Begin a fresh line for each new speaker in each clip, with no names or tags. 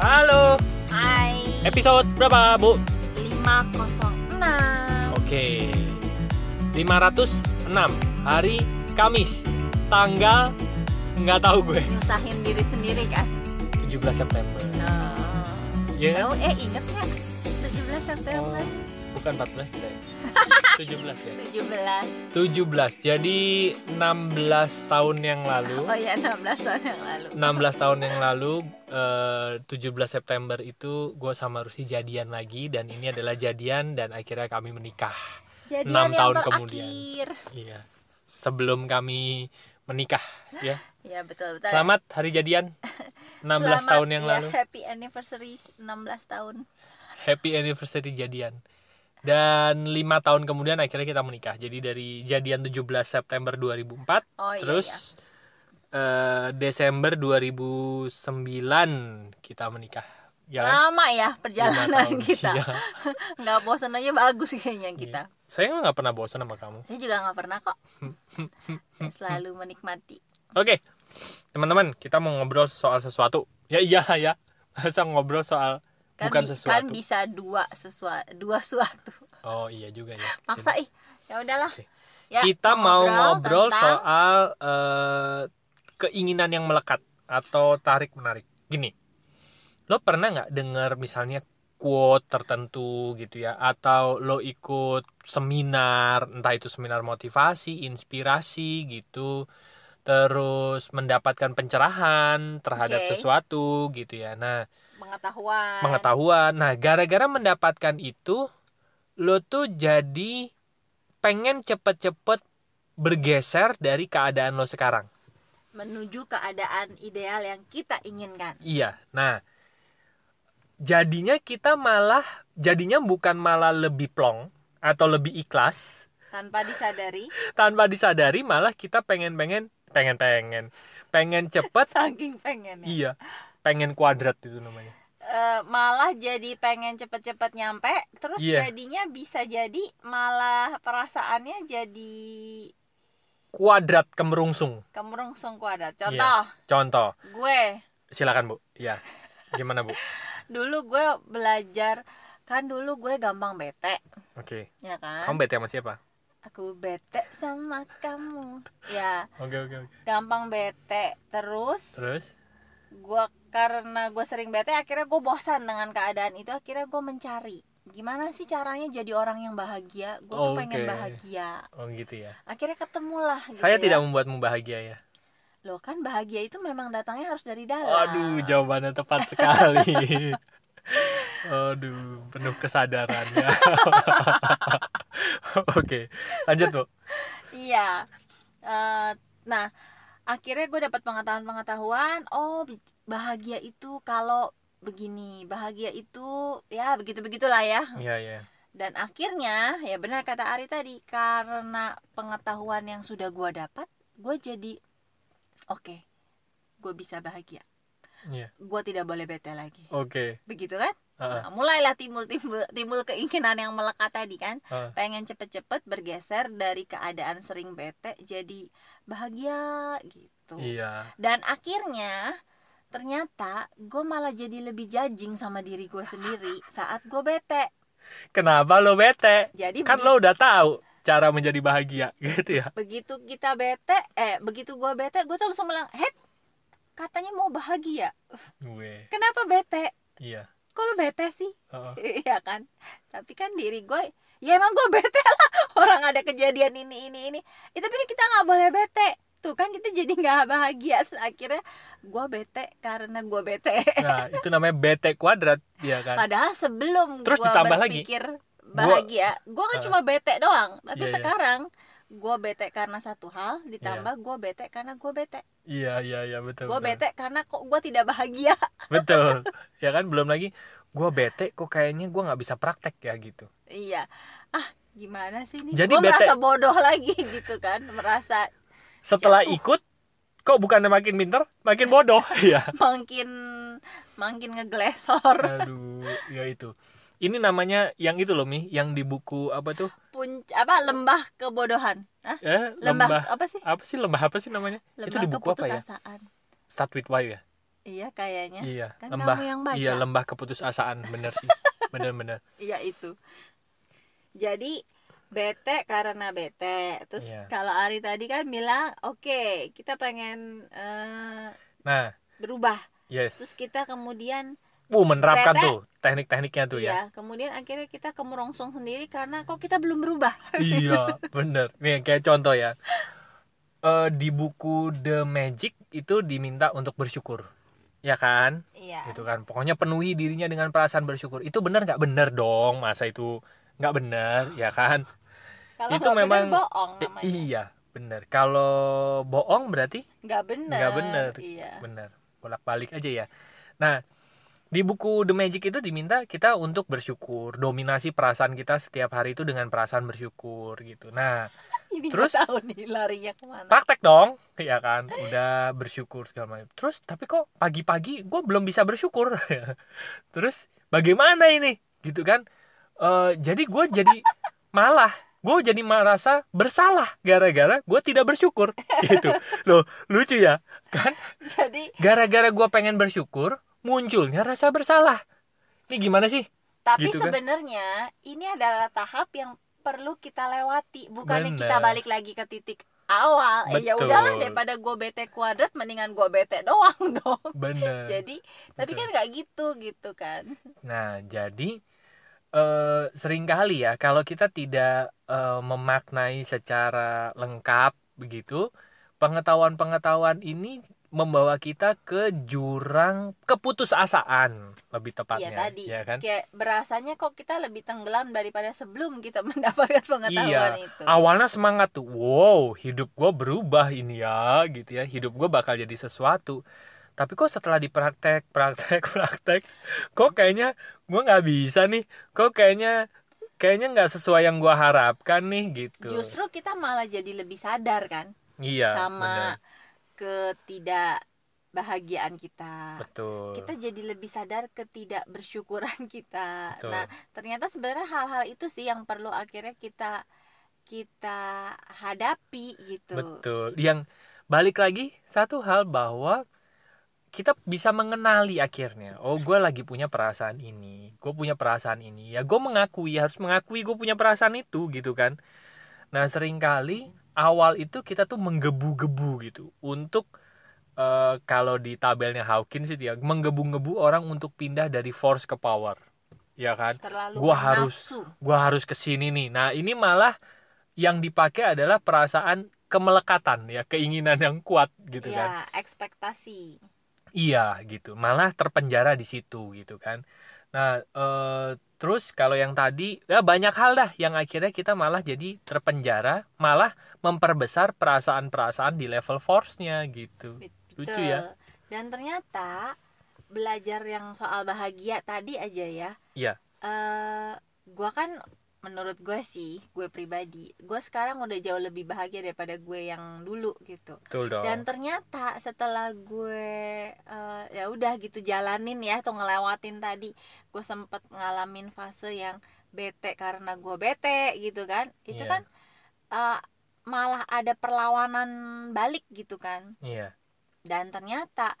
Halo.
Hai
Episode berapa, Bu?
506
Oke. 506 hari Kamis. Tanggal nggak tahu gue.
Nyusahin diri sendiri kan
17 September.
Oh.
Ya.
Tahu, eh inget nggak? 17 September
Oh. bukan 14 kita ya. 17 ya.
17
17. Jadi 16 tahun yang lalu.
Oh ya 16 tahun yang lalu
16 tahun yang lalu eh, 17 September itu gue sama Rusi jadian lagi dan ini adalah jadian dan akhirnya kami menikah.
Jadian
enam
yang
tahun
terakhir.
kemudian. Iya. Sebelum kami menikah ya.
Ya betul-betul
Selamat hari jadian 16
Selamat,
tahun yang
ya,
lalu.
Happy anniversary 16 tahun
Happy anniversary jadian. Dan lima tahun kemudian akhirnya kita menikah. Jadi dari jadian 17 September 2004
Oh iya,
terus
iya
eh, Desember 2009 kita menikah. kan? Jalan
Lama ya
lima
perjalanan
tahun.
kita
Iya.
nggak bosan aja bagus kayaknya kita
Saya emang nggak pernah bosan sama kamu.
Saya juga nggak pernah kok Saya selalu menikmati
Oke, teman-teman, kita mau ngobrol soal sesuatu. Ya iya ya, masa ngobrol soal bukan
kan, bi- kan
sesuatu.
bisa dua sesuatu dua suatu
oh iya juga ya.
maksa ih ya udahlah
Oke.
ya
kita mau ngobrol
tentang
soal eh, keinginan yang melekat atau tarik menarik. Gini, lo pernah nggak dengar misalnya quote tertentu gitu ya, atau lo ikut seminar, entah itu seminar motivasi, inspirasi gitu, terus mendapatkan pencerahan terhadap
Oke.
sesuatu gitu ya. Nah,
pengetahuan
pengetahuan. Nah, gara-gara mendapatkan itu, lo tuh jadi pengen cepet-cepet bergeser dari keadaan lo sekarang.
menuju keadaan ideal yang kita inginkan
Iya. Nah, jadinya kita malah jadinya bukan malah lebih plong atau lebih ikhlas
tanpa disadari
tanpa disadari malah kita pengen-pengen pengen-pengen pengen cepet
saking pengennya
iya pengen kuadrat itu namanya
Eh, malah jadi pengen cepet-cepet nyampe terus
Iya.
jadinya bisa jadi malah perasaannya jadi
kuadrat kemerungsung
kemerungsung kuadrat
Iya.
contoh
contoh
gue
silakan bu ya gimana bu oke
dulu gue belajar kan dulu gue gampang bete ya kan
Kamu bete sama siapa?
aku bete sama kamu ya
Oke oke oke.
gampang bete terus
Terus?
gua karena gue sering bete akhirnya gue bosan dengan keadaan itu akhirnya gue mencari gimana sih caranya jadi orang yang bahagia gue tuh pengen
Oke.
bahagia
Oh gitu ya.
akhirnya ketemulah gitu
Saya
ya.
tidak membuatmu bahagia ya.
loh kan bahagia itu memang datangnya harus dari dalam
Aduh, jawabannya tepat sekali. Aduh, penuh kesadarannya. Oke, lanjut bu.
iya Eh, nah akhirnya gue dapat pengetahuan pengetahuan oh bahagia itu kalau begini bahagia itu ya begitu begitulah ya
Iya iya.
Dan akhirnya, ya benar kata Ari tadi, karena pengetahuan yang sudah gua dapat, gue jadi oke, gue bisa bahagia.
Iya. Oh. Ah,
Gue tidak boleh bete lagi.
Oke.
Begitu kan?
Heeh.
Nah, mulailah timbul timbul timbul keinginan yang melekat tadi kan.
Heeh.
Pengen cepet-cepet bergeser dari keadaan sering bete jadi bahagia gitu.
Iya.
Dan akhirnya ternyata gue malah jadi lebih judging sama diri gue sendiri saat gue bete.
Kenapa lo bete?
Jadi
Kan
begitu-
lo udah tahu cara menjadi bahagia, gitu ya.
begitu kita bete eh begitu gua bete gue tuh langsung bilang het katanya mau bahagia
Gue.
kenapa bete
Iya.
kok lu bete sih
Heeh.
iya kan tapi kan diri gue ya emang gue bete lah orang ada kejadian ini ini ini ya, tapi ini kita nggak boleh bete tuh kan kita jadi nggak bahagia Terus akhirnya gue bete karena gue bete
Nah, itu namanya bete kuadrat, ya kan?
padahal sebelum
Terus
gua
ditambah lagi,
berpikir bahagia gue kan
Ah.
cuma bete doang tapi
Iya, iya.
sekarang gue bete karena satu hal ditambah gue bete karena gue bete
Iya iya iya betul.
gue
betul.
bete karena kok gue tidak bahagia
Betul. ya kan belum lagi gue bete kok kayaknya gue nggak bisa praktek ya gitu.
iya ah gimana sih nih
Jadi
gue
bete.
merasa bodoh lagi gitu kan merasa
Setelah ikut kok bukannya makin pinter, makin bodoh. Iya.
makin makin ngeglesor
Aduh, ya itu. Ini namanya yang itu loh Mi, yang di buku apa tuh?
punc apa lembah kebodohan Hah?
Eh, lembah
lembah, apa sih
apa sih lembah apa sih namanya?
lembah
itu di buku apa ya?
keputusasaan
Start with why ya?
iya kayaknya
Iya,
kan
lembah.
kamu yang baca.
Iya, lembah keputusasaan, bener sih. Bener-bener.
iya itu jadi bete karena bete terus
Iya.
kalau Ari tadi kan bilang oke kita pengen eh,
Nah,
berubah terus
yes.
kita kemudian
Uh, menerapkan
Bete.
tuh teknik-tekniknya tuh ya.
iya kemudian akhirnya kita kemerongsong sendiri karena kok kita belum berubah
iya, bener. Nih, kayak contoh ya. Eh, di buku The Magic itu diminta untuk bersyukur. Ya kan?
iya
Gitu kan. Pokoknya penuhi dirinya dengan perasaan bersyukur. Itu bener nggak bener dong? Masa itu nggak bener, ya kan?
kalau
itu
nggak bener,
memang-
bohong
Eh,
namanya
iya, bener. Kalau bohong berarti
nggak bener
Nggak bener.
iya
bener bolak-balik aja ya nah di buku The Magic itu diminta kita untuk bersyukur dominasi perasaan kita setiap hari itu dengan perasaan bersyukur gitu nah
ini nggak
Terus-
tahu nih larinya kemana
praktek dong ya kan udah bersyukur segala macam terus tapi kok pagi-pagi gue belum bisa bersyukur terus bagaimana ini gitu kan Eh jadi gue jadi malah gue jadi merasa bersalah gara-gara gue tidak bersyukur gitu loh lucu ya
jadi
gara-gara gue pengen bersyukur munculnya rasa bersalah ini gimana sih
Tapi
Gitu kan.
sebenarnya ini adalah tahap yang perlu kita lewati, bukannya
Bener.
kita balik lagi ke titik awal. Eh ya
Betul.
udahlah daripada gue bete kuadrat mendingan gue bete doang dong.
bener
Jadi, tapi
Betul.
kan nggak gitu gitu kan.
nah jadi eh, seringkali ya kalau kita tidak eh, memaknai secara lengkap begitu pengetahuan-pengetahuan ini membawa kita ke jurang keputusasaan lebih tepatnya
Iya tadi.
kan
Kayak berasanya kok kita lebih tenggelam daripada sebelum kita mendapatkan
Iya.
pengetahuan itu.
awalnya semangat tuh wow hidup gue berubah ini ya gitu ya hidup gue bakal jadi sesuatu tapi kok setelah dipraktek praktek praktek kok kayaknya gue nggak bisa nih kok kayaknya kayaknya nggak sesuai yang gue harapkan nih gitu
Justru kita malah jadi lebih sadar kan
iya bener.
sama ketidakbahagiaan kita.
betul
kita jadi lebih sadar ketidakbersyukuran kita.
Betul.
Nah, ternyata sebenarnya hal-hal itu sih yang perlu akhirnya kita kita hadapi gitu.
betul yang balik lagi satu hal bahwa kita bisa mengenali akhirnya oh gue lagi punya perasaan ini gue punya perasaan ini ya gue mengakui harus mengakui gue punya perasaan itu gitu kan nah seringkali awal itu kita tuh menggebu-gebu gitu untuk eh, kalau di tabelnya Hawkins itu ya menggebu-gebu orang untuk pindah dari force ke power ya kan
Terlalu
Gua harus-
nafsu.
gue harus kesini nih. Nah ini malah yang dipakai adalah perasaan kemelekatan ya, keinginan yang kuat gitu kan.
Ya, ekspektasi.
Iya gitu, malah terpenjara di situ gitu kan. Nah eh, terus kalau yang tadi ya banyak hal dah yang akhirnya kita malah jadi terpenjara, malah memperbesar perasaan-perasaan di level force-nya gitu. Lucu
Betul.
ya.
Dan ternyata belajar yang soal bahagia tadi aja ya.
Iya.
Eh, gua kan menurut gue sih, gue pribadi, gue sekarang udah jauh lebih bahagia daripada gue yang dulu gitu.
Betul dong.
dan ternyata setelah gue eh, ya udah gitu jalanin ya atau ngelewatin tadi gue sempet ngalamin fase yang bete karena gue bete gitu kan itu
Iya.
kan eh, malah ada perlawanan balik gitu kan
Iya.
dan ternyata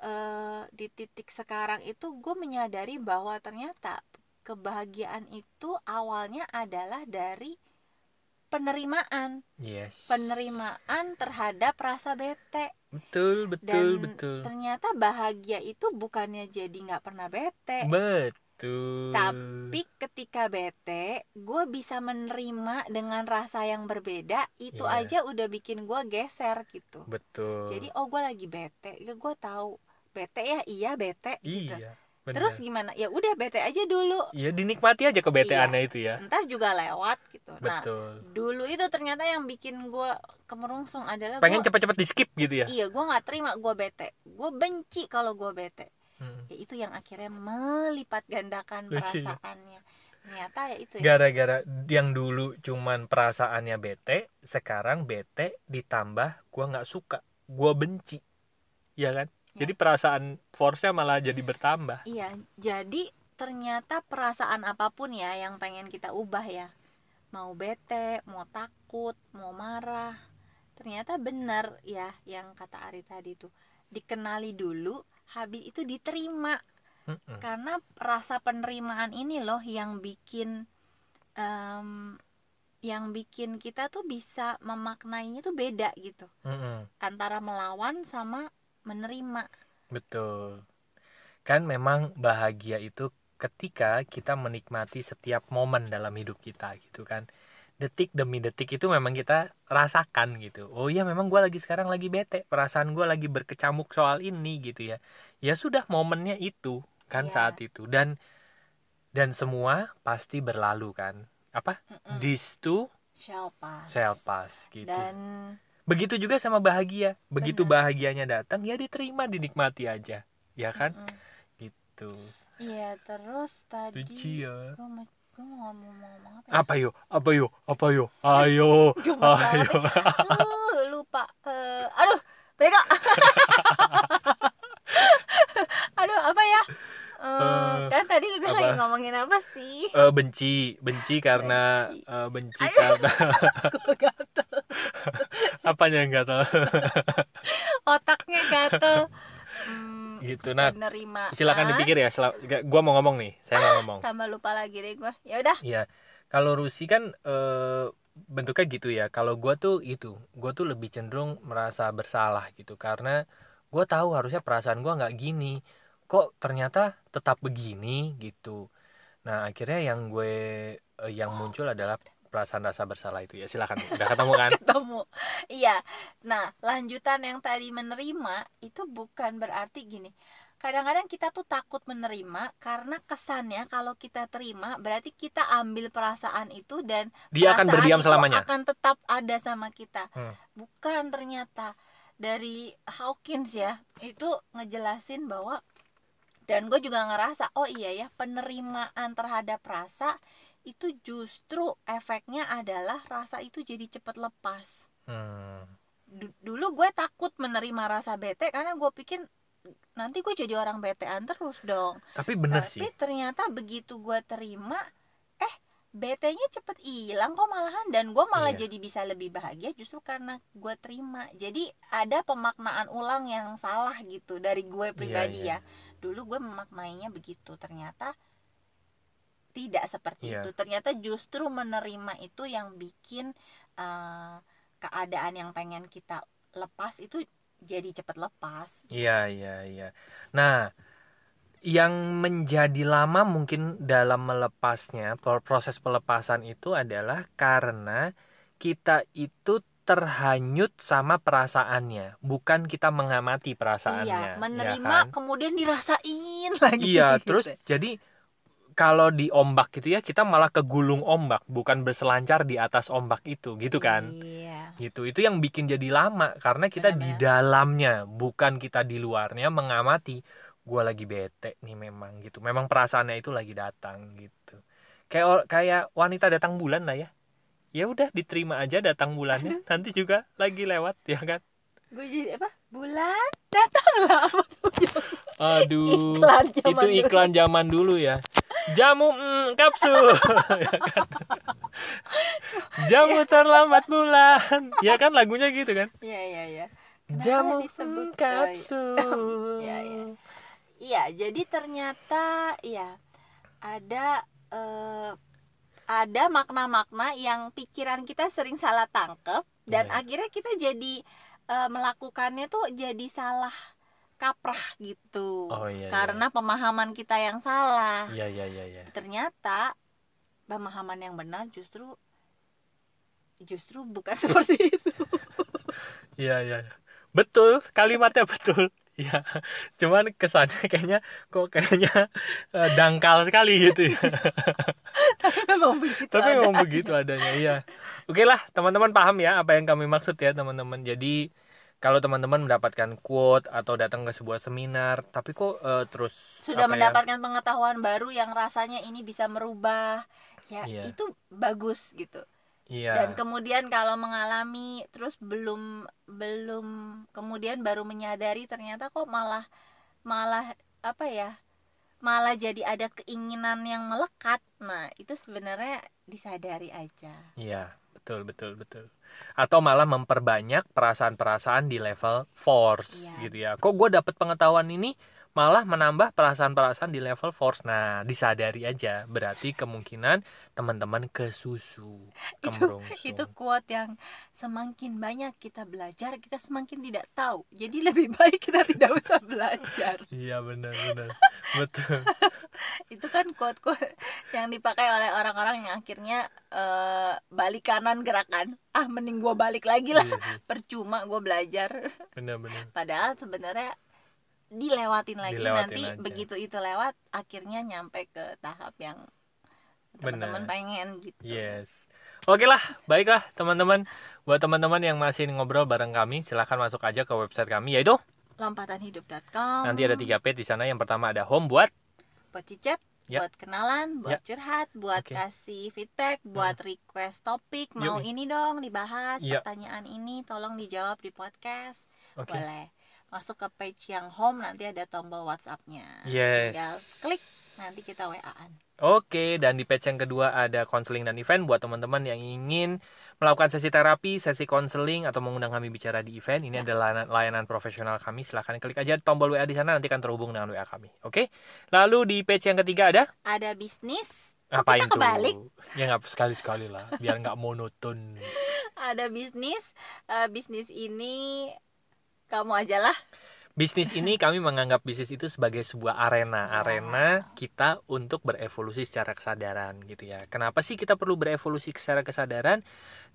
eh, di titik sekarang itu gue menyadari bahwa ternyata kebahagiaan itu awalnya adalah dari penerimaan
Yes.
penerimaan terhadap rasa bete
Betul, betul,
dan
betul.
ternyata bahagia itu bukannya jadi nggak pernah
Hmm.
bete
Betul.
tapi ketika bete gue bisa menerima dengan rasa yang berbeda itu
Iya.
aja udah bikin gue geser gitu
betul.
jadi oh gue lagi bete ya gue tahu bete ya iya bete gitu
Iya. bener.
terus gimana ya udah bete aja dulu
Iya dinikmati aja kebeteannya itu ya.
ntar juga lewat gitu Iya. nah
Betul.
dulu itu ternyata yang bikin gue kemerungsung adalah
Pengen
nah, gua-
cepet-cepet di skip gitu ya.
iya gue nggak terima gue bete gue benci kalau gue bete
Mm.
ya itu yang akhirnya melipat gandakan
Lucu ya?
perasaannya ternyata ya itu ya
Gara-gara yang dulu cuman perasaannya bete, sekarang bete ditambah gua nggak suka, gua benci. Ya kan?
Ya.
Jadi perasaan force-nya malah jadi bertambah.
iya jadi ternyata perasaan apapun ya yang pengen kita ubah ya mau bete mau takut mau marah ternyata benar ya yang kata Ari tadi tuh dikenali dulu habis itu diterima
Mm-mm.
karena rasa penerimaan ini loh yang bikin em, yang bikin kita tuh bisa memaknainya tuh beda gitu
Mm-mm.
antara melawan sama menerima
Betul. Kan memang bahagia itu ketika kita menikmati setiap momen dalam hidup kita gitu kan. Detik demi detik itu memang kita rasakan gitu. Oh iya memang gue lagi sekarang lagi bete. Perasaan gue lagi berkecamuk soal ini gitu ya. Ya sudah momennya itu kan
Iya.
saat itu. Dan dan semua pasti berlalu kan. Apa?
Mm-mm.
This too
shall pass.
shall pass gitu.
Mm. dan
Begitu juga sama bahagia. Begitu
Benar.
bahagianya datang ya diterima, dinikmati aja. Ya kan?
Mm-mm.
gitu
iya terus tadi
ya
gue mau gua mau ngomong, mau ngomong apa ya?
apa yo apa yo apa yo ayo
Gemes
ayo
Uh, lupa Eh, aduh bego aduh apa ya Eh,
Eh,
kan tadi kita lagi
apa?
ngomongin apa sih
Eh, benci benci karena
Benci.
eh, benci, karena
Gua gatel.
apanya yang gatal
otaknya gatel Hmm,
gitu nah
menerima
silakan dipikir ya sila- gua mau ngomong nih saya mau ngomong
tambah lupa lagi deh gue ya udah
Iya. Kalau Rusi kan eh, bentuknya gitu ya. Kalau gua tuh itu, gua tuh lebih cenderung merasa bersalah gitu karena gua tahu harusnya perasaan gua nggak gini. Kok ternyata tetap begini gitu. Nah, akhirnya yang gue eh, yang muncul adalah perasaan rasa bersalah itu ya. Silakan. Udah ketemu kan?
ketemu iya nah lanjutan yang tadi menerima itu bukan berarti gini kadang-kadang kita tuh takut menerima karena kesannya kalau kita terima berarti kita ambil perasaan itu dan
Dia akan
perasaan
berdiam
itu
selamanya.
akan tetap ada sama kita
Hmm.
bukan ternyata dari Hawkins ya itu ngejelasin bahwa dan gue juga ngerasa oh iya ya penerimaan terhadap rasa itu justru efeknya adalah rasa itu jadi cepat lepas
Hmm.
Du- dulu gue takut menerima rasa bete karena gue pikir nanti gue jadi orang betean terus dong
Tapi bener
tapi
sih.
ternyata begitu gue terima eh betenya cepet hilang kok malahan dan gue malah
Iya.
jadi bisa lebih bahagia justru karena gue terima jadi ada pemaknaan ulang yang salah gitu dari gue pribadi
Iya, iya.
ya dulu gue memaknainya begitu ternyata tidak seperti
Iya.
itu ternyata justru menerima itu yang bikin eh, keadaan yang pengen kita lepas itu jadi cepat lepas
Iya, iya, iya. Nah, yang menjadi lama mungkin dalam melepasnya, pro- proses pelepasan itu adalah karena kita itu terhanyut sama perasaannya, bukan kita mengamati
iya
perasaannya. ya
menerima
kan?
kemudian dirasain lagi
Iya,
gitu.
terus jadi kalau di ombak gitu ya, kita malah kegulung ombak, bukan berselancar di atas ombak itu, gitu kan?
iya
gitu itu yang bikin jadi lama karena kita di
Benar-benar.
dalamnya bukan kita di luarnya mengamati gua lagi bete nih memang gitu memang perasaannya itu lagi datang gitu kayak or- kayak wanita datang bulan lah ya ya udah diterima aja datang bulannya nanti juga lagi lewat ya kan
gue jadi apa bulan datang lah apa tuh
aduh
iklan zaman
itu
dulu.
iklan zaman dulu ya jamu mm, kapsul Ya kan? jamu terlambat bulan ya kan lagunya gitu kan
iya iya iya Kenapa
jamu
disebut eh,
mm, kapsul
Ya, ya. iya jadi ternyata ya ada eh, ada makna-makna yang pikiran kita sering salah tangkep dan
Iya.
akhirnya kita jadi eh, melakukannya tuh jadi salah kaprah gitu
Oh, iya, iya.
karena pemahaman kita yang salah
Iya iya iya iya.
ternyata pemahaman yang benar justru justru bukan seperti itu
Iya iya. iya. Betul, kalimatnya betul. Iya. Cuman kesannya kayaknya kok kayaknya eh, dangkal sekali gitu ya.
tapi memang begitu
Tapi
ada.
memang begitu adanya, iya. Oke lah, teman-teman paham ya apa yang kami maksud ya, teman-teman. Jadi kalau teman-teman mendapatkan quote atau datang ke sebuah seminar, tapi kok eh, terus
sudah
apa ya,
mendapatkan pengetahuan baru yang rasanya ini bisa merubah ya
Iya.
itu bagus gitu
Iya.
dan kemudian kalau mengalami terus belum belum kemudian baru menyadari ternyata kok malah malah apa ya malah jadi ada keinginan yang melekat nah itu sebenarnya disadari aja
Iya, betul betul betul. Atau malah memperbanyak perasaan-perasaan di level force
Iya.
gitu ya. Kok gue dapet pengetahuan ini malah menambah perasaan-perasaan di level force. Nah, disadari aja. Berarti kemungkinan teman-teman kesusu,
Itu-
kemerungsung.
itu quote yang semakin banyak kita belajar kita semakin tidak tahu jadi lebih baik kita tidak usah belajar
Iya benar-benar betul.
itu kan quote quote yang dipakai oleh orang-orang yang akhirnya eh, balik kanan gerakan ah mending gue balik lagi lah
Iya sih,
percuma gue belajar
Benar-benar.
padahal sebenarnya dilewatin lagi
Dilewatin
nanti
aja.
begitu itu lewat akhirnya nyampe ke tahap yang teman-teman
Benar.
pengen gitu
Yes. Oke lah, baiklah teman-teman. Buat teman-teman yang masih ngobrol bareng kami, silahkan masuk aja ke website kami yaitu
Oh. lompatanhidup.com
nanti ada 3 page di sana. Yang pertama ada home buat
buat cicet
Yap.
buat kenalan buat curhat
Ya.
buat
Oke. Hmm.
kasih feedback buat request topik mau
Yoi.
ini dong dibahas
Yap.
pertanyaan ini tolong dijawab di podcast
Oke.
boleh masuk ke page yang home nanti ada tombol WhatsAppnya
Yes.
Nah, tinggal klik nanti kita waan
Oke, dan di page yang kedua ada konseling dan event buat teman-teman yang ingin melakukan sesi terapi, sesi konseling atau mengundang kami bicara di event.
Ya.
Ini adalah layanan, layanan profesional kami. Silahkan klik aja tombol WA di sana nanti akan terhubung dengan WA kami. Oke. Lalu di page yang ketiga ada
ada bisnis Kok
apain
kita kebalik?
tuh? Ya nggak sekali-sekali lah, biar nggak monoton.
ada bisnis Eh, bisnis ini kamu ajalah
Bisnis ini kami menganggap bisnis itu sebagai sebuah arena,
Ya.
arena kita untuk berevolusi secara kesadaran gitu ya. Kenapa sih kita perlu berevolusi secara kesadaran?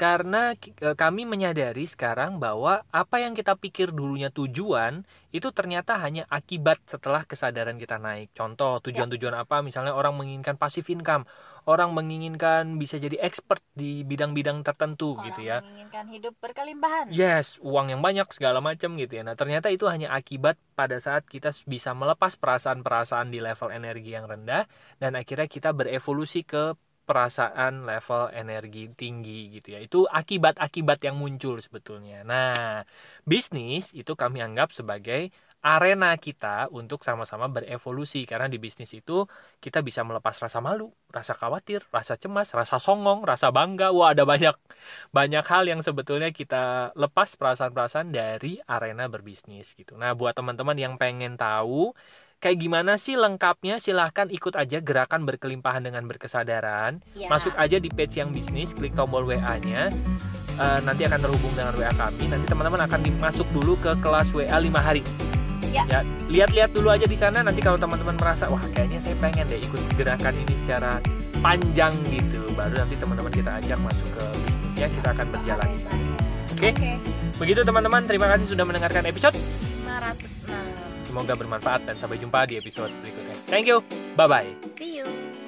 Karena ki- eh, kami menyadari sekarang bahwa apa yang kita pikir dulunya tujuan itu ternyata hanya akibat setelah kesadaran kita naik. Contoh tujuan-tujuan apa? Misalnya orang menginginkan passive income, orang menginginkan bisa jadi expert di bidang-bidang tertentu
orang
gitu ya. Iya.
menginginkan hidup berkelimpahan
Yes, uang yang banyak segala macam gitu ya. Nah, ternyata itu hanya akibat pada saat kita bisa melepas perasaan-perasaan di level energi yang rendah dan akhirnya kita berevolusi ke perasaan level energi tinggi gitu ya. Itu akibat-akibat yang muncul sebetulnya. Nah, bisnis itu kami anggap sebagai arena kita untuk sama-sama berevolusi karena di bisnis itu kita bisa melepas rasa malu, rasa khawatir, rasa cemas, rasa songong, rasa bangga. Wah, ada banyak banyak hal yang sebetulnya kita lepas perasaan-perasaan dari arena berbisnis gitu. Nah, buat teman-teman yang pengen tahu kayak gimana sih lengkapnya, silahkan ikut aja gerakan berkelimpahan dengan berkesadaran.
Ya.
Masuk aja di page yang bisnis, klik tombol WA-nya. Eh, nanti akan terhubung dengan WA kami. Nanti teman-teman akan dimasuk dulu ke kelas WA 5 hari.
Ya.
lihat-lihat dulu aja di sana. Nanti kalau teman-teman merasa wah kayaknya saya pengen deh ikut gerakan ini secara panjang gitu. Baru nanti teman-teman kita ajak masuk ke bisnisnya, kita akan berjalan di sana. Oke.
Oke.
Begitu teman-teman, terima kasih sudah mendengarkan episode.
506.
Semoga bermanfaat dan sampai jumpa di episode berikutnya. Thank you. Bye bye.
See you.